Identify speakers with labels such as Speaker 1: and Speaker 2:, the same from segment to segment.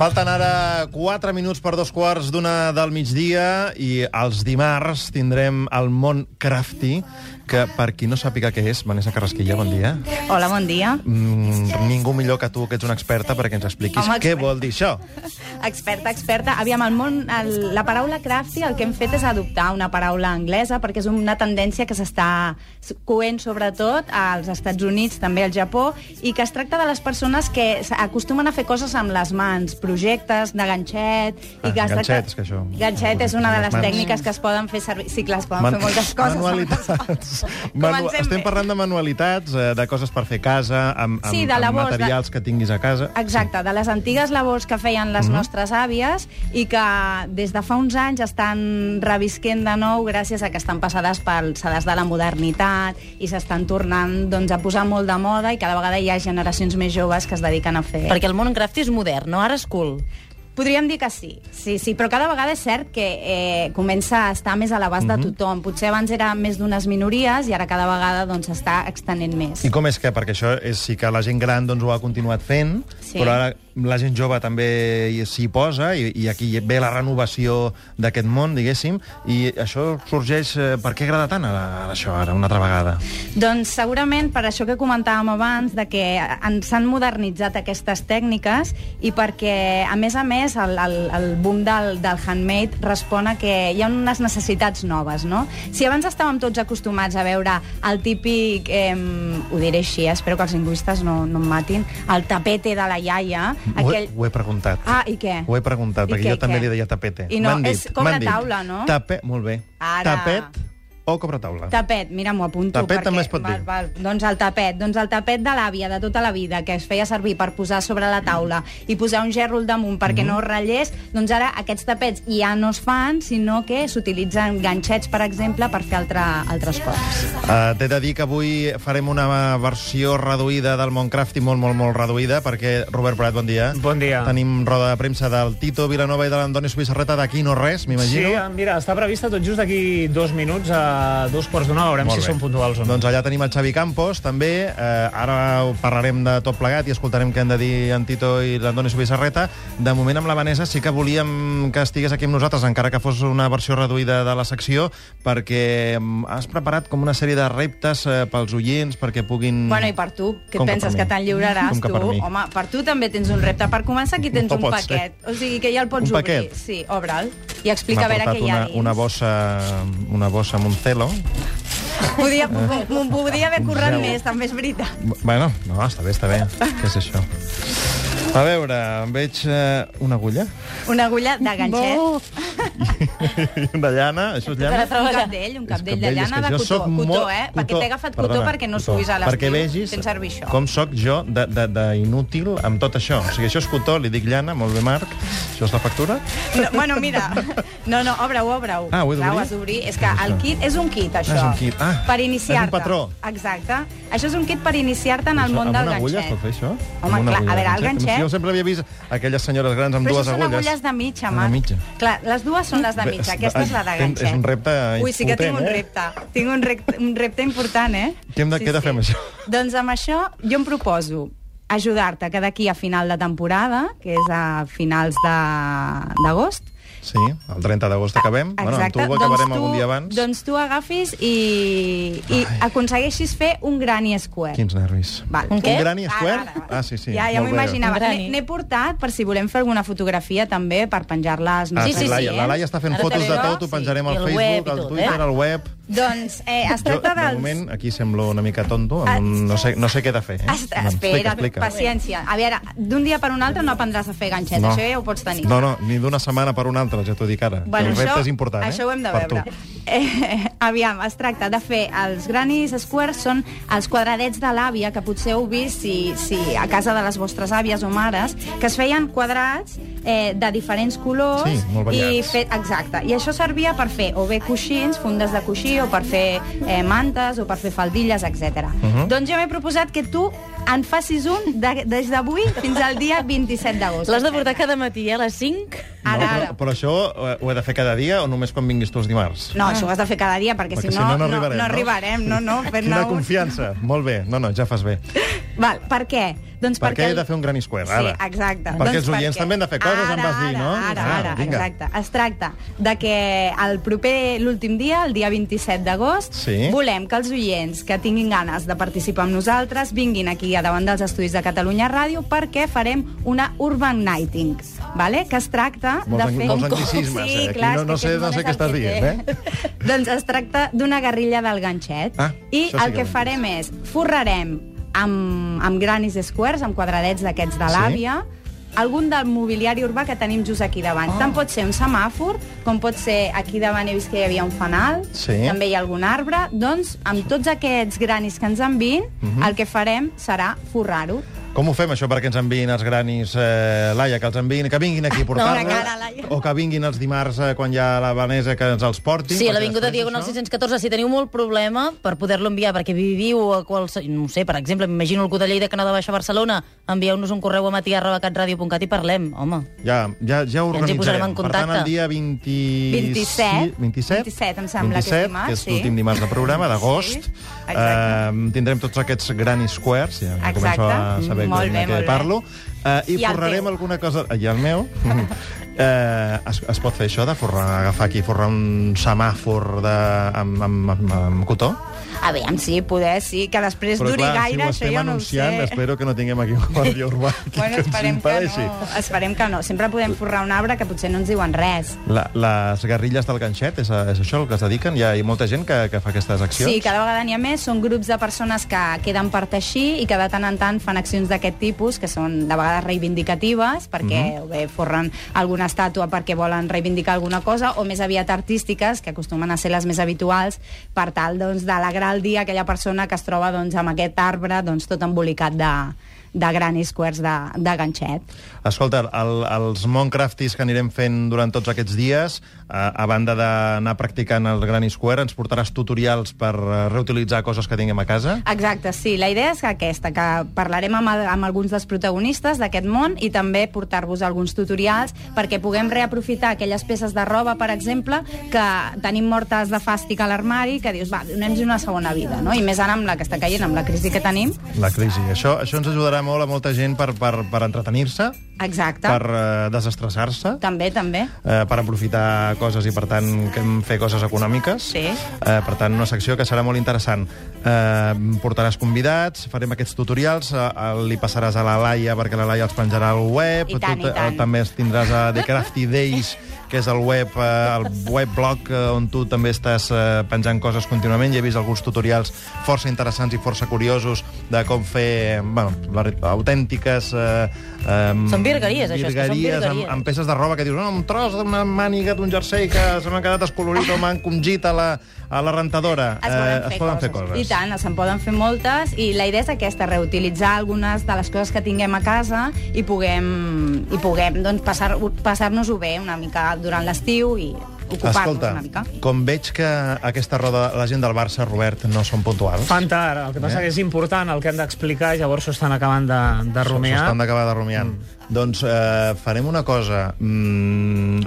Speaker 1: Falten ara 4 minuts per dos quarts d'una del migdia i els dimarts tindrem el món crafty, que per qui no sàpiga què és, Vanessa Carrasquilla, bon dia.
Speaker 2: Hola, bon dia.
Speaker 1: Mm, ningú millor que tu, que ets una experta, perquè ens expliquis
Speaker 2: Home,
Speaker 1: què
Speaker 2: experta.
Speaker 1: vol dir això.
Speaker 2: Experta, experta. Aviam, el món, el, la paraula crafty el que hem fet és adoptar una paraula anglesa perquè és una tendència que s'està coent sobretot als Estats Units, també al Japó, i que es tracta de les persones que s- acostumen a fer coses amb les mans, projectes de ganxet... I que
Speaker 1: Ah,
Speaker 2: es tracta-
Speaker 1: ganxet, és que això-
Speaker 2: Ganxet és una de les
Speaker 1: Mans.
Speaker 2: tècniques que es poden fer servir... Sí, clar, es poden
Speaker 1: Man-
Speaker 2: fer moltes coses. amb les
Speaker 1: Manualitats.
Speaker 2: mans.
Speaker 1: Manu
Speaker 2: Comencem
Speaker 1: Estem
Speaker 2: bé.
Speaker 1: parlant de manualitats, eh, de coses per fer a casa, amb, amb,
Speaker 2: Sí, de
Speaker 1: amb
Speaker 2: labors, de-
Speaker 1: materials que tinguis a casa.
Speaker 2: Exacte, de les antigues labors que feien les nostres àvies i que des de fa uns anys estan revisquent de nou gràcies a que estan passades pel sedàs de la modernitat i s'estan tornant doncs, a posar molt de moda i cada vegada hi ha generacions més joves que es dediquen a fer.
Speaker 3: Perquè el món crafty és modern, no? Ara és cool.
Speaker 2: Podríem dir que sí, sí, sí, però cada vegada és cert que eh, comença a estar més a l'abast de tothom. Potser abans era més d'unes minories i ara cada vegada doncs, s'està extenent més.
Speaker 1: I com és que, perquè això és, sí que la gent gran doncs, ho ha continuat fent,
Speaker 2: Sí.
Speaker 1: però ara la gent jove també hi- s'hi posa i, i aquí ve la renovació d'aquest món, diguéssim, i això sorgeix... eh, Per què agrada tant ara, ara això, ara, una altra vegada?
Speaker 2: Doncs segurament per això que comentàvem abans, de que ens han modernitzat aquestes tècniques i perquè, a més a més, el, el, el boom del, del handmade respon a que hi ha unes necessitats noves, no? Si abans estàvem tots acostumats a veure el típic, eh, ho diré així, eh, espero que els lingüistes no, no em matin, el tapete de la iaia,
Speaker 1: Ho, he,
Speaker 2: aquell...
Speaker 1: ho he preguntat.
Speaker 2: Ah, i què?
Speaker 1: Ho he preguntat,
Speaker 2: I
Speaker 1: perquè
Speaker 2: què,
Speaker 1: jo també
Speaker 2: què?
Speaker 1: li deia tapete.
Speaker 2: I no,
Speaker 1: M'han
Speaker 2: és
Speaker 1: dit,
Speaker 2: com
Speaker 1: m'han
Speaker 2: la
Speaker 1: dit,
Speaker 2: taula, no?
Speaker 1: Tape, molt bé.
Speaker 2: Ara.
Speaker 1: Tapet o cobretaula.
Speaker 2: Tapet, mira, m'ho apunto.
Speaker 1: Tapet
Speaker 2: perquè-
Speaker 1: també es pot dir.
Speaker 2: val, Val, doncs el tapet, doncs el tapet de l'àvia de tota la vida que es feia servir per posar sobre la taula i posar un gerro al damunt
Speaker 1: Mhm.
Speaker 2: perquè no ratllés, doncs ara aquests tapets ja no es fan, sinó que s'utilitzen ganxets, per exemple, per fer altre, altres coses.
Speaker 1: Uh, T'he de dir que avui farem una versió reduïda del Montcraft i molt, molt, molt reduïda, perquè, Robert Prat, bon dia.
Speaker 4: Bon dia.
Speaker 1: Tenim roda de premsa del Tito Vilanova i de l'Antoni Suïssarreta d'aquí no res,
Speaker 4: Sí,
Speaker 1: m'imagino.
Speaker 4: mira, està prevista tot just d'aquí dos minuts, a dos quarts d'una, veurem
Speaker 1: Molt
Speaker 4: si
Speaker 1: bé.
Speaker 4: són puntuals o no.
Speaker 1: Doncs allà tenim el Xavi Campos, també. Eh, ara ho parlarem de tot plegat i escoltarem què han de dir en Tito i l'Antoni Subissarreta. De moment, amb la Vanessa sí que volíem que estigués aquí amb nosaltres, encara que fos una versió reduïda de la secció, perquè mm, has preparat com una sèrie de reptes eh, pels oients, perquè puguin...
Speaker 2: Bueno, i per tu,
Speaker 1: Mm.
Speaker 2: què
Speaker 1: Com que
Speaker 2: et penses
Speaker 1: per
Speaker 2: que
Speaker 1: mi?
Speaker 2: te'n lliuraràs
Speaker 1: Com que
Speaker 2: tu?
Speaker 1: per mi?
Speaker 2: Home, per tu també tens un repte. Per començar, aquí tens
Speaker 1: No
Speaker 2: un
Speaker 1: pot
Speaker 2: paquet. O sigui que ja el pots
Speaker 1: Un
Speaker 2: obrir.
Speaker 1: paquet?
Speaker 2: Sí, obre'l. I
Speaker 1: M'ha
Speaker 2: explica a veure
Speaker 1: portat
Speaker 2: què hi ha
Speaker 1: una,
Speaker 2: dins.
Speaker 1: una bossa, una bossa amb un celo.
Speaker 2: Podia, m'ho podia haver currat
Speaker 1: Eh. Gel.
Speaker 2: més, també és veritat.
Speaker 1: B- Bueno, no, està bé, està bé. Què és això? A veure, em veig eh, una agulla
Speaker 2: Una agulla de ganxet.
Speaker 1: i una llana. Això és llana?
Speaker 2: Un cabdell, un
Speaker 1: És
Speaker 2: cabdell de
Speaker 1: és
Speaker 2: llana
Speaker 1: que
Speaker 2: de
Speaker 1: jo
Speaker 2: cotó,
Speaker 1: soc
Speaker 2: cotó,
Speaker 1: molt-
Speaker 2: eh? Perquè t'he agafat cotó
Speaker 1: perdona,
Speaker 2: perquè no
Speaker 1: cotó.
Speaker 2: suïs a
Speaker 1: Perquè
Speaker 2: l'estiu
Speaker 1: vegis
Speaker 2: fent servir això.
Speaker 1: com sóc jo de- de- d'inútil amb tot això. O sigui, això és cotó, li dic llana, molt bé, Marc. Això és la factura.
Speaker 2: No, bueno, mira, no, no, obre-ho, obre-ho.
Speaker 1: Ah, ho he
Speaker 2: Clar,
Speaker 1: d'obrir?
Speaker 2: has d'obrir. És que el kit és un kit, això.
Speaker 1: Ah, és un kit. Ah,
Speaker 2: per
Speaker 1: és un
Speaker 2: iniciar-te.
Speaker 1: patró.
Speaker 2: Exacte. Això és un kit per iniciar-te en el
Speaker 1: Això,
Speaker 2: món
Speaker 1: amb
Speaker 2: del
Speaker 1: una agulla es pot fer
Speaker 2: ganxet.
Speaker 1: això?
Speaker 2: Home,
Speaker 1: Amb una
Speaker 2: clar, a
Speaker 1: agulla de
Speaker 2: veure, el ganxet-
Speaker 1: Jo sempre havia vist aquelles senyores grans amb
Speaker 2: Però
Speaker 1: dues
Speaker 2: això són
Speaker 1: agulles.
Speaker 2: agulles de mitja,
Speaker 1: Ah,
Speaker 2: Marc.
Speaker 1: De mitja.
Speaker 2: Clar, les dues són les de
Speaker 1: Bé,
Speaker 2: mitja, aquesta és la de
Speaker 1: és un
Speaker 2: ganxet.
Speaker 1: repte
Speaker 2: Ui, sí que
Speaker 1: potent,
Speaker 2: tinc un
Speaker 1: eh?
Speaker 2: repte. Tinc un repte, un repte important, eh?
Speaker 1: Què hem de- què he de fer amb això?
Speaker 2: Doncs amb això jo em proposo ajudar-te que d'aquí a final de temporada, que és a finals de- d'agost,
Speaker 1: Sí, el 30 d'agost acabem.
Speaker 2: Ah, Exacte.
Speaker 1: Bueno, amb tu ho acabarem
Speaker 2: doncs tu,
Speaker 1: algun dia abans.
Speaker 2: Doncs tu agafis i, i aconsegueixis fer un granny square.
Speaker 1: Quins nervis.
Speaker 2: Val.
Speaker 3: Un què?
Speaker 1: Un granny
Speaker 2: Ara,
Speaker 1: square?
Speaker 2: ara, ara.
Speaker 1: Ah, sí, sí.
Speaker 2: Ja, ja m'ho
Speaker 1: molt bé.
Speaker 2: imaginava.
Speaker 3: Un
Speaker 2: N'he
Speaker 3: granny.
Speaker 2: n'he portat per si volem fer alguna fotografia també per penjar-la als
Speaker 1: Ah,
Speaker 3: Sí, sí, sí,
Speaker 1: Laia,
Speaker 3: eh?
Speaker 1: La Laia està fent
Speaker 3: Ara
Speaker 1: fotos de
Speaker 3: també, no?
Speaker 1: tot, ho penjarem
Speaker 3: Sí,
Speaker 1: al
Speaker 3: i el web
Speaker 1: Facebook,
Speaker 3: i
Speaker 1: al
Speaker 3: tot,
Speaker 1: Twitter,
Speaker 3: eh?
Speaker 1: al web...
Speaker 2: Doncs eh,
Speaker 1: Jo,
Speaker 2: es tracta
Speaker 1: de
Speaker 2: dels...
Speaker 1: moment, aquí semblo una mica tonto,
Speaker 2: Ah,
Speaker 1: amb un... no, sé, no sé què he de fer. Eh?
Speaker 2: Es-
Speaker 1: Va,
Speaker 2: espera,
Speaker 1: explica, explica.
Speaker 2: paciència. A veure, d'un dia per un altre no aprendràs a fer ganxet, això ja ho pots tenir.
Speaker 1: No, no, ni d'una setmana per una altra, ja t'ho dic ara. el repte és important, eh?
Speaker 2: Això ho hem de
Speaker 1: per
Speaker 2: veure.
Speaker 1: Tu.
Speaker 2: Eh, aviam, es tracta de fer els granis squares, són els quadradets de l'àvia, que potser heu vist si, si a casa de les vostres àvies o mares, que es feien quadrats eh, de diferents colors.
Speaker 1: Sí, molt
Speaker 2: i
Speaker 1: variats.
Speaker 2: fe, Exacte. I això servia per fer o bé coixins, fundes de coixí, o per fer eh, mantes, o per fer faldilles, etc.
Speaker 1: Mhm.
Speaker 2: Doncs jo m'he proposat que tu en facis un de, des d'avui fins al dia 27 d'agost.
Speaker 3: L'has de portar cada matí, eh, a les 5?
Speaker 2: Ara,
Speaker 1: no,
Speaker 2: ara.
Speaker 1: però, però això eh, ho he de fer cada dia o només quan vinguis tu els dimarts?
Speaker 2: No, això ho has de fer cada dia, perquè,
Speaker 1: Ah. Perquè
Speaker 2: si no, no,
Speaker 1: arribarem,
Speaker 2: no
Speaker 1: no?
Speaker 2: arribarem. No, no,
Speaker 1: Quina
Speaker 2: fent-ne un-
Speaker 1: confiança. Molt bé. No, no, ja fas bé.
Speaker 2: Val, per què? Doncs
Speaker 1: Per què
Speaker 2: perquè...
Speaker 1: he de fer un gran square, ara?
Speaker 2: Sí, exacte.
Speaker 1: Perquè els oients també han de fer coses,
Speaker 2: ara,
Speaker 1: em vas dir,
Speaker 2: ara,
Speaker 1: no?
Speaker 2: Ara,
Speaker 1: Ah,
Speaker 2: ara,
Speaker 1: vinga.
Speaker 2: exacte. Es tracta de que el proper, l'últim dia, el dia 27 d'agost,
Speaker 1: Sí.
Speaker 2: volem que els oients que tinguin ganes de participar amb nosaltres vinguin aquí a davant dels estudis de Catalunya Ràdio perquè farem una Urban Nighting, vale? que es tracta
Speaker 1: Molts,
Speaker 2: de
Speaker 1: ang-
Speaker 2: fer...
Speaker 1: molts
Speaker 3: Com- com-
Speaker 1: anglicismes,
Speaker 2: sí,
Speaker 1: eh? Aquí
Speaker 2: clar,
Speaker 1: no,
Speaker 2: és
Speaker 1: no
Speaker 2: que
Speaker 1: sé,
Speaker 2: aquest
Speaker 1: no
Speaker 2: món
Speaker 1: sé
Speaker 2: és
Speaker 1: què
Speaker 2: el
Speaker 1: estàs
Speaker 2: que
Speaker 1: dient,
Speaker 2: té.
Speaker 1: eh?
Speaker 2: doncs es tracta d'una guerrilla del ganxet.
Speaker 1: Ah,
Speaker 2: I
Speaker 1: això sí que
Speaker 2: el que
Speaker 1: ho hem
Speaker 2: farem és, forrarem amb, amb granis squares, amb quadradets d'aquests de
Speaker 1: Sí.
Speaker 2: l'àvia, algun del mobiliari urbà que tenim just aquí davant.
Speaker 1: Ah.
Speaker 2: Tant pot ser un semàfor, com pot ser aquí davant he vist que hi havia un fanal,
Speaker 1: Sí.
Speaker 2: també hi ha algun arbre. Doncs amb tots aquests granis que ens envin,
Speaker 1: Mhm.
Speaker 2: el que farem serà forrar-ho.
Speaker 1: Com ho fem, això, perquè ens enviïn els granis, eh, Laia, que els enviïn, que vinguin aquí a portar-los?
Speaker 2: una cara, Laia.
Speaker 1: o que vinguin els dimarts, eh, quan hi ha la Vanessa, que ens els portin?
Speaker 3: Sí, a
Speaker 1: perquè
Speaker 3: l'Avinguda
Speaker 1: després
Speaker 3: Diagonal
Speaker 1: això-
Speaker 3: 614, si teniu molt problema per poder-lo enviar, perquè viviu a qualsevol... No ho sé, per exemple, m'imagino algú de Lleida que no de Baixa Barcelona, envieu-nos un correu a matiarrabacatradio.cat i parlem, home.
Speaker 1: Ja, ja, ja ho
Speaker 3: I ens hi
Speaker 1: organitzarem.
Speaker 3: posarem en
Speaker 1: Per tant, el
Speaker 3: contacte.
Speaker 1: dia 20...
Speaker 2: 27,
Speaker 1: 27,
Speaker 2: 27, em sembla que és
Speaker 1: 27,
Speaker 2: dimarts,
Speaker 1: que és
Speaker 2: sí.
Speaker 1: l'últim dimarts de programa, d'agost.
Speaker 2: Sí, exacte.
Speaker 1: Eh, tindrem tots aquests gran squares, ja
Speaker 2: Exacte.
Speaker 1: començo a saber
Speaker 2: Mm, molt
Speaker 1: com-
Speaker 2: bé,
Speaker 1: de què
Speaker 2: molt bé.
Speaker 1: parlo. Eh, I,
Speaker 2: I el
Speaker 1: forrarem
Speaker 2: teu.
Speaker 1: alguna cosa... I el meu? Eh, es, es pot fer això de forrar, agafar aquí, forrar un semàfor de, amb, amb, amb, amb cotó?
Speaker 2: Aviam, sí, poder, sí, que després
Speaker 1: Però
Speaker 2: duri
Speaker 1: clar,
Speaker 2: gaire,
Speaker 1: si ho
Speaker 2: això
Speaker 1: estem
Speaker 2: jo no ho sé.
Speaker 1: anunciant, espero que no tinguem aquí un guàrdia urbà aquí
Speaker 2: Bueno,
Speaker 1: que ens
Speaker 2: esperem que,
Speaker 1: impedeixi.
Speaker 2: no. esperem que no. Sempre podem forrar un arbre que potser no ens diuen res.
Speaker 1: La, les guerrilles del ganxet, és, a, és això el que es dediquen? Hi ha, hi ha molta gent que, que fa aquestes accions?
Speaker 2: Sí, cada vegada n'hi ha més. Són grups de persones que queden per teixir i que de tant en tant fan accions d'aquest tipus, que són de vegades reivindicatives, perquè o bé forren alguna estàtua perquè volen reivindicar alguna cosa, o més aviat artístiques, que acostumen a ser les més habituals, per tal doncs, d'alegrar el dia a aquella persona que es troba doncs, amb aquest arbre doncs, tot embolicat de, de granis coberts de, de ganxet.
Speaker 1: Escolta, el, els Montcraftis que anirem fent durant tots aquests dies, a, a banda d'anar practicant el Gran Square, ens portaràs tutorials per eh, reutilitzar coses que tinguem a casa?
Speaker 2: Exacte, sí. La idea és aquesta, que parlarem amb, el, amb alguns dels protagonistes d'aquest món i també portar-vos alguns tutorials perquè puguem reaprofitar aquelles peces de roba, per exemple, que tenim mortes de fàstic a l'armari, que dius, va, donem-hi una segona vida, no? I més ara amb la que està caient, amb la crisi que tenim.
Speaker 1: La crisi. Això, això ens ajudarà molt a molta gent per, per, per entretenir-se,
Speaker 2: Exacte.
Speaker 1: per eh, desestressar-se.
Speaker 2: També, també.
Speaker 1: eh, per aprofitar coses i, per tant, que hem fer coses econòmiques.
Speaker 2: Sí.
Speaker 1: Eh, per tant, una secció que serà molt interessant. Eh, portaràs convidats, farem aquests tutorials, eh, eh, li passaràs a la Laia perquè la Laia els penjarà al web.
Speaker 2: I tant,
Speaker 1: tu,
Speaker 2: i tant.
Speaker 1: eh, també es tindràs a The Crafty Days, que és el web, eh, el webblog eh, on tu també estàs eh, penjant coses contínuament. Ja he vist alguns tutorials força interessants i força curiosos de com fer, bueno, ver- autèntiques... Eh, eh,
Speaker 3: Són virgueries, això, és que són
Speaker 1: virgueries amb,
Speaker 3: virgueries.
Speaker 1: amb peces de roba que dius, no, un tros d'una màniga d'un jersei que se m'ha quedat escolorit o m'han congit a la, a la rentadora.
Speaker 2: es poden,
Speaker 1: Eh,
Speaker 2: fer,
Speaker 1: es poden
Speaker 2: coses.
Speaker 1: fer coses.
Speaker 2: I tant, se'n poden fer moltes i la idea és aquesta, reutilitzar algunes de les coses que tinguem a casa i puguem, i puguem doncs, passar- passar-nos-ho bé una mica durant l'estiu i ocupar-nos
Speaker 1: Escolta,
Speaker 2: una mica.
Speaker 1: com veig que aquesta roda, la gent del Barça, Robert, no són puntuals.
Speaker 4: Fan tard, el que passa
Speaker 1: Eh?
Speaker 4: que és important el que hem d'explicar, llavors s'ho estan acabant de, de rumiar.
Speaker 1: S'estan d'acabar de rumiar. Mm. Doncs eh, farem una cosa. Mm,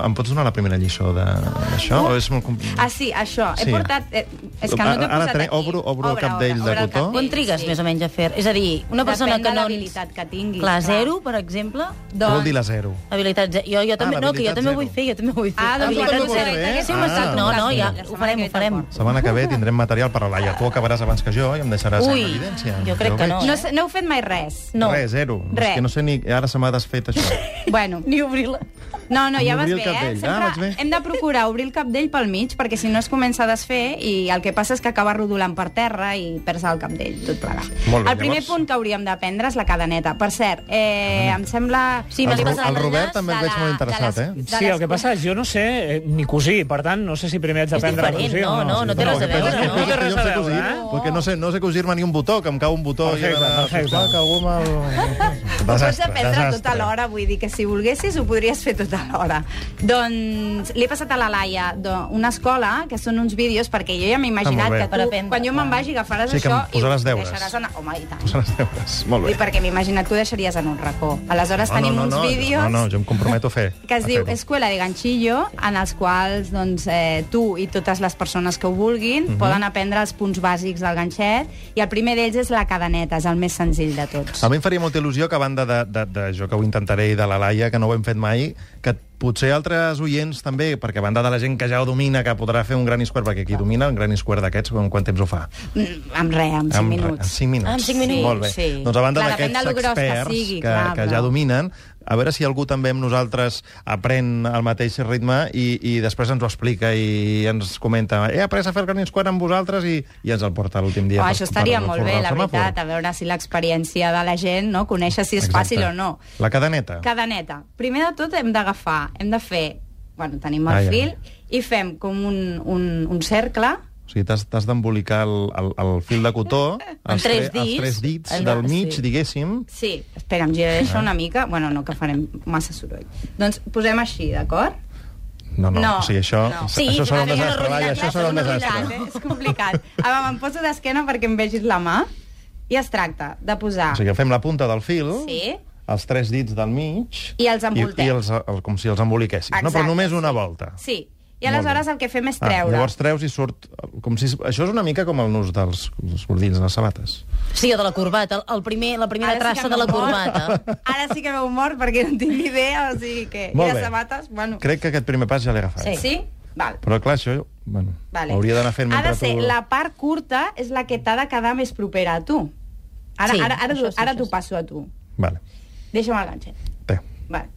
Speaker 1: em pots donar la primera lliçó de- d'això? Oh. O és molt... Com...
Speaker 2: Ah, sí, això. He
Speaker 1: Sí.
Speaker 2: portat... Eh, és que no t'he
Speaker 1: Ara
Speaker 2: posat
Speaker 1: tre-
Speaker 2: aquí.
Speaker 1: obro- obro el cap d'ells de
Speaker 2: obre el cap
Speaker 1: cotó.
Speaker 2: d'ells,
Speaker 3: Quan trigues
Speaker 2: sí.
Speaker 3: més o menys a fer? És a dir, una persona
Speaker 2: Depèn
Speaker 3: que
Speaker 2: de
Speaker 3: no...
Speaker 2: l'habilitat que tinguis, clar.
Speaker 3: Clar, zero, per exemple.
Speaker 1: Què
Speaker 2: doncs-
Speaker 1: vol dir la zero?
Speaker 3: Habilitat zero. Jo, jo també, no, que jo
Speaker 1: l'habilitat
Speaker 3: també
Speaker 1: zero.
Speaker 3: vull fer, jo també vull fer.
Speaker 2: Ah, doncs
Speaker 1: Ah,
Speaker 3: habilitat
Speaker 1: tu també
Speaker 3: zero.
Speaker 1: vols fer?
Speaker 3: Hauríem
Speaker 1: Ah.
Speaker 3: estat- No, no, ja,
Speaker 2: La
Speaker 3: ho
Speaker 2: setmana
Speaker 3: farem,
Speaker 2: que
Speaker 3: ho farem.
Speaker 2: ve
Speaker 1: Setmana que ve tindrem material per a Laia. Tu acabaràs abans que jo i em deixaràs
Speaker 3: Ui,
Speaker 1: en evidència.
Speaker 3: jo crec que
Speaker 1: veig.
Speaker 3: no, eh?
Speaker 2: No, sé- no heu fet mai res.
Speaker 3: No.
Speaker 1: Res, eh? zero.
Speaker 2: Res.
Speaker 1: És que no sé ni... Ara se m'ha desfet això.
Speaker 2: Bueno,
Speaker 3: Ni obrir-la.
Speaker 2: No, no, ja vas
Speaker 1: Obrir
Speaker 2: bé,
Speaker 1: el
Speaker 2: eh?
Speaker 1: cabdell. Ah,
Speaker 2: Sempre
Speaker 1: vaig bé.
Speaker 2: hem de procurar obrir el cabdell pel mig, perquè si no es comença a desfer i el que passa és que acaba rodolant per terra i perds el cabdell, tot plegat.
Speaker 1: Molt bé,
Speaker 2: el primer
Speaker 1: llavors-
Speaker 2: punt que hauríem d'aprendre és la cadeneta. Per cert, eh, em sembla...
Speaker 3: Sí,
Speaker 1: el,
Speaker 3: m'has
Speaker 1: Ro-
Speaker 3: passat
Speaker 1: el
Speaker 3: l'enllaç
Speaker 1: Robert també el
Speaker 2: de
Speaker 1: veig molt
Speaker 2: la-
Speaker 1: interessat,
Speaker 2: de
Speaker 1: eh?
Speaker 2: les-
Speaker 4: Sí, el que passa és jo no sé eh, ni cosir, per tant, no sé si primer haig d'aprendre a
Speaker 3: diferent,
Speaker 4: cosir
Speaker 3: no,
Speaker 4: o
Speaker 3: no, no té res a
Speaker 1: el que passa
Speaker 3: veure,
Speaker 1: és que
Speaker 3: no?
Speaker 1: penses
Speaker 4: té
Speaker 1: que
Speaker 4: res
Speaker 1: jo
Speaker 4: a
Speaker 1: sé
Speaker 4: veure,
Speaker 1: cosir,
Speaker 4: eh?
Speaker 1: perquè no sé, no sé cosir-me ni un botó, que em cau un botó i
Speaker 4: Perfecte,
Speaker 1: he de-
Speaker 4: perfecte.
Speaker 1: sisplau, que algú me'l...
Speaker 2: tota
Speaker 1: tota
Speaker 2: Ho pots aprendre tot alhora, vull dir que si volguessis ho podries fer tot alhora. Doncs li he passat a la Laia do- una escola, que són uns vídeos, perquè jo ja m'he
Speaker 1: Ah,
Speaker 2: imaginat
Speaker 1: molt bé.
Speaker 2: que
Speaker 3: Per
Speaker 2: tu,
Speaker 3: aprendre,
Speaker 2: quan jo me'n
Speaker 3: clar.
Speaker 2: vagi, agafaràs
Speaker 1: Sí, que em
Speaker 2: això
Speaker 1: posaràs
Speaker 2: i
Speaker 1: deures.
Speaker 2: ho deixaràs anar... Home, i tant.
Speaker 1: Posar les deures. Molt bé.
Speaker 2: I perquè m'he imaginat que ho deixaries en un racó. Aleshores tenim
Speaker 1: no, no,
Speaker 2: uns
Speaker 1: no,
Speaker 2: vídeos...
Speaker 1: No, no, jo em comprometo a fer.
Speaker 2: que es
Speaker 1: a
Speaker 2: diu
Speaker 1: fer-ho.
Speaker 2: Escuela de Ganchillo, en els quals doncs, eh, tu i totes les persones que ho vulguin
Speaker 1: Mhm.
Speaker 2: poden aprendre els punts bàsics del ganxet i el primer d'ells és la cadeneta, és el més senzill de tots.
Speaker 1: A mi em faria molta il·lusió que a banda de, de, de jo que ho intentaré i de la Laia, que no ho hem fet mai, que potser altres oients també, perquè a banda de la gent que ja ho domina, que podrà fer un gran square, perquè qui domina un gran square d'aquests, en quant temps ho fa?
Speaker 2: Mm, Amb res, amb 5
Speaker 1: En
Speaker 2: minuts.
Speaker 1: 5 minuts.
Speaker 3: Ah, en cinc minuts,
Speaker 1: Molt bé.
Speaker 3: sí.
Speaker 1: Doncs a banda
Speaker 2: Clar, depèn
Speaker 1: d'aquests
Speaker 2: de lo gros que
Speaker 1: experts que,
Speaker 2: sigui,
Speaker 1: que,
Speaker 2: clar,
Speaker 1: que
Speaker 2: però-
Speaker 1: ja dominen, a veure si algú també amb nosaltres aprèn el mateix ritme i, i després ens ho explica i ens comenta he après a fer el gran square amb vosaltres i, i ens el porta l'últim dia.
Speaker 2: Oh,
Speaker 1: per-
Speaker 2: això estaria
Speaker 1: per
Speaker 2: molt
Speaker 1: forrar
Speaker 2: bé,
Speaker 1: el
Speaker 2: la
Speaker 1: semàfor.
Speaker 2: veritat, a veure si l'experiència de la gent, no?, conèixer si és
Speaker 1: Exacte.
Speaker 2: fàcil o no.
Speaker 1: La cadeneta.
Speaker 2: Cadeneta. Primer de tot hem d'agafar, hem de fer... Bueno, tenim el
Speaker 1: Ai, ai.
Speaker 2: fil i fem com un, un, un cercle
Speaker 1: O sigui, t'has t'has d'embolicar el, el, el fil de cotó, els, tre-
Speaker 3: tres
Speaker 1: els
Speaker 3: dits.
Speaker 1: tres dits
Speaker 3: Allà,
Speaker 1: del mig,
Speaker 3: sí.
Speaker 1: diguéssim.
Speaker 2: Sí, espera, em
Speaker 1: Eh?
Speaker 2: giraré això una mica. Bueno, no, que farem massa soroll. Doncs posem així, d'acord?
Speaker 1: No, no,
Speaker 2: No,
Speaker 1: o sigui, això,
Speaker 2: no.
Speaker 3: Sí,
Speaker 1: això serà
Speaker 3: a
Speaker 1: un
Speaker 3: veure,
Speaker 1: desastre,
Speaker 3: una
Speaker 1: Laia, això
Speaker 3: rotllada,
Speaker 1: serà un
Speaker 3: una
Speaker 1: desastre.
Speaker 2: Complicat, eh? És complicat. Ah, va, em poso d'esquena perquè em vegis la mà i es tracta de posar...
Speaker 1: O sigui, fem la punta del fil,
Speaker 2: Sí.
Speaker 1: els tres dits del mig...
Speaker 2: I els envoltem.
Speaker 1: I, i els, eh, el, com si els emboliquessis, no?
Speaker 2: Exacte,
Speaker 1: Però només una
Speaker 2: sí.
Speaker 1: volta.
Speaker 2: Sí. I
Speaker 1: Molt
Speaker 2: aleshores
Speaker 1: bé.
Speaker 2: el que fem és
Speaker 1: Ah,
Speaker 2: treure.
Speaker 1: llavors treus i surt... Com si, això és una mica com el nus dels dels cordills de les sabates.
Speaker 3: Sí, o de la corbata, el- el primer, la primera
Speaker 2: Ara sí
Speaker 3: traça
Speaker 2: que
Speaker 3: de la
Speaker 2: m'heu mort.
Speaker 3: corbata.
Speaker 2: Ara sí que m'heu mort perquè no tinc ni idea, o sigui que...
Speaker 1: Molt
Speaker 2: I
Speaker 1: bé.
Speaker 2: les sabates, bueno...
Speaker 1: Crec que aquest primer pas ja l'he agafat.
Speaker 2: Sí? sí? Val.
Speaker 1: Però clar, això bueno,
Speaker 2: Vale.
Speaker 1: hauria d'anar fent
Speaker 2: ha
Speaker 1: mentre
Speaker 2: de ser,
Speaker 1: tu...
Speaker 2: la part curta és la que t'ha de quedar més propera a tu. Ara,
Speaker 3: Sí,
Speaker 2: ara, ara,
Speaker 3: això
Speaker 2: ara,
Speaker 3: sí,
Speaker 2: ara
Speaker 3: això
Speaker 2: t'ho
Speaker 3: sí.
Speaker 2: passo a tu.
Speaker 1: Vale.
Speaker 2: Deixa'm el ganxet.
Speaker 1: Té.
Speaker 2: Vale.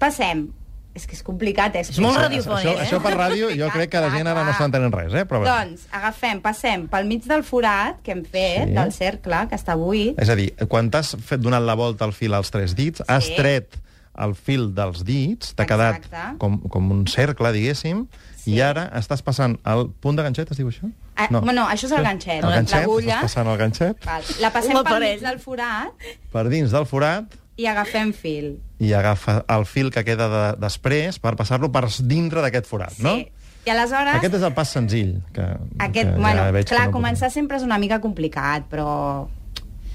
Speaker 2: Passem. És que és complicat, eh?
Speaker 3: molt
Speaker 2: Això-
Speaker 3: radiofònic.
Speaker 1: això,
Speaker 3: eh?
Speaker 1: això per ràdio jo crec que la gent ara no s'entenen res, eh? Però bé.
Speaker 2: Ah, Doncs agafem, passem pel mig del forat que hem
Speaker 1: Sí. Eh,
Speaker 2: fet, sí. del cercle, que està buit.
Speaker 1: És a dir, quan t'has fet donat la volta al fil als tres dits, sí. has
Speaker 2: Sí.
Speaker 1: tret el fil dels dits, t'ha quedat
Speaker 2: Exacte.
Speaker 1: com, com un cercle, diguéssim, sí. i ara estàs passant el punt de ganxet, es diu això?
Speaker 2: Ah, bueno, això és el ganxet,
Speaker 1: El ganxet,
Speaker 2: l'agulla.
Speaker 1: estàs passant el ganxet
Speaker 2: Val. La passem
Speaker 3: Un
Speaker 2: pel
Speaker 3: aparell.
Speaker 2: mig del forat
Speaker 1: per dins del forat
Speaker 2: i agafem fil.
Speaker 1: i agafa el fil que queda de, després per passar-lo per dintre d'aquest forat,
Speaker 2: Sí.
Speaker 1: no?
Speaker 2: I aleshores...
Speaker 1: Aquest és el pas senzill. Que,
Speaker 2: Aquest,
Speaker 1: que ja
Speaker 2: bueno,
Speaker 1: veig que
Speaker 2: clar,
Speaker 1: no
Speaker 2: no
Speaker 1: puc-
Speaker 2: començar sempre és una mica complicat, però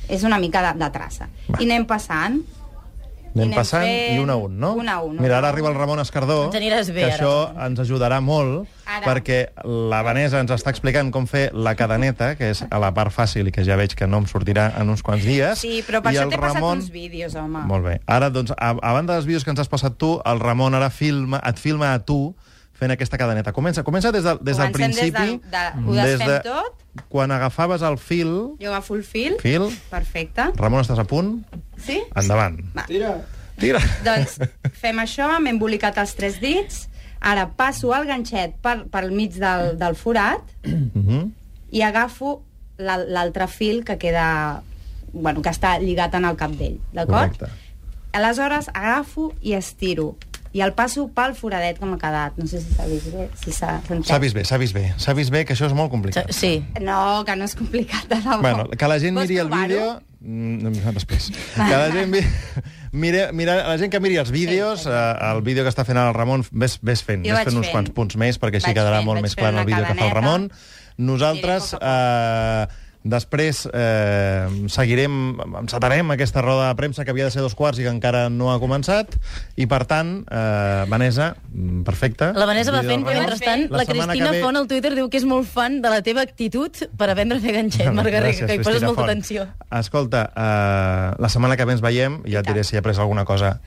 Speaker 2: és una mica de, de traça.
Speaker 1: Va.
Speaker 2: Va. I anem passant.
Speaker 1: Anem
Speaker 2: Anem
Speaker 1: passant
Speaker 2: fent
Speaker 1: i un a un, no?
Speaker 2: un a un, un
Speaker 1: Mira, ara
Speaker 2: a un.
Speaker 1: arriba el Ramon Escardó,
Speaker 3: Ens aniràs bé,
Speaker 1: que
Speaker 3: ara.
Speaker 1: això ens ajudarà molt,
Speaker 2: Ara.
Speaker 1: perquè la Vanessa ens està explicant com fer la cadeneta, que és a la part fàcil i que ja veig que no em sortirà en uns quants dies.
Speaker 2: Sí, però per
Speaker 1: I
Speaker 2: això
Speaker 1: el
Speaker 2: t'he passat
Speaker 1: Ramon...
Speaker 2: uns vídeos, home.
Speaker 1: Molt bé. Ara, doncs, a, a banda dels vídeos que ens has passat tu, el Ramon ara filma, et filma a tu fent aquesta cadeneta. Comença, comença des, del, des del
Speaker 2: Comencem des
Speaker 1: principi.
Speaker 2: del- de- ho desfem tot.
Speaker 1: Quan agafaves el fil...
Speaker 2: Jo agafo el fil.
Speaker 1: Fil.
Speaker 2: Perfecte.
Speaker 1: Ramon, estàs a punt?
Speaker 2: Sí?
Speaker 1: Endavant.
Speaker 2: Va.
Speaker 1: Tira.
Speaker 2: Doncs fem això, m'he embolicat els tres dits, ara passo el ganxet per, pel mig del, del forat
Speaker 1: Mhm.
Speaker 2: i agafo l'al- l'altre fil que queda... Bueno, que està lligat en el cabdell, d'acord?
Speaker 1: Correcte.
Speaker 2: Aleshores, agafo i estiro. I el passo pel foradet que m'ha quedat. No sé si s'ha vist bé, si s'ha sentit.
Speaker 1: S'ha vist bé, s'ha vist bé. S'ha vist bé que això és molt complicat.
Speaker 3: Sí.
Speaker 2: No, que no és complicat, de debò.
Speaker 1: Bueno, que la gent
Speaker 2: Vols
Speaker 1: miri el
Speaker 2: provar-ho?
Speaker 1: vídeo... Mm, no, després. Que la gent, vi... mira, mira, la gent que miri els vídeos, sí, el vídeo que està fent ara el Ramon, ves, ves fent,
Speaker 2: Jo
Speaker 1: ves
Speaker 2: vaig
Speaker 1: fent uns
Speaker 2: fent.
Speaker 1: quants punts més, perquè així
Speaker 2: Vaig
Speaker 1: quedarà
Speaker 2: fent,
Speaker 1: molt
Speaker 2: vaig
Speaker 1: més
Speaker 2: fent
Speaker 1: clar en el
Speaker 2: una
Speaker 1: vídeo que fa el
Speaker 2: cadeneta.
Speaker 1: Ramon. Nosaltres
Speaker 2: Aniré
Speaker 1: eh, després eh, seguirem, encetarem aquesta roda de premsa que havia de ser dos quarts i que encara no ha començat, i per tant, eh, Vanessa, mm, perfecte.
Speaker 3: La Vanessa va
Speaker 1: Vídeo
Speaker 3: fent,
Speaker 1: del
Speaker 3: però
Speaker 1: Ramon.
Speaker 3: mentrestant, la,
Speaker 1: La setmana
Speaker 3: Cristina
Speaker 1: que ve-
Speaker 3: Font al Twitter diu que és molt fan de la teva actitud per aprendre a fer ganxet, Margarida, que hi poses
Speaker 1: Cristina eh,
Speaker 3: molta
Speaker 1: Font.
Speaker 3: atenció.
Speaker 1: Escolta, uh, la setmana que ve ens veiem i ja et diré si he après alguna cosa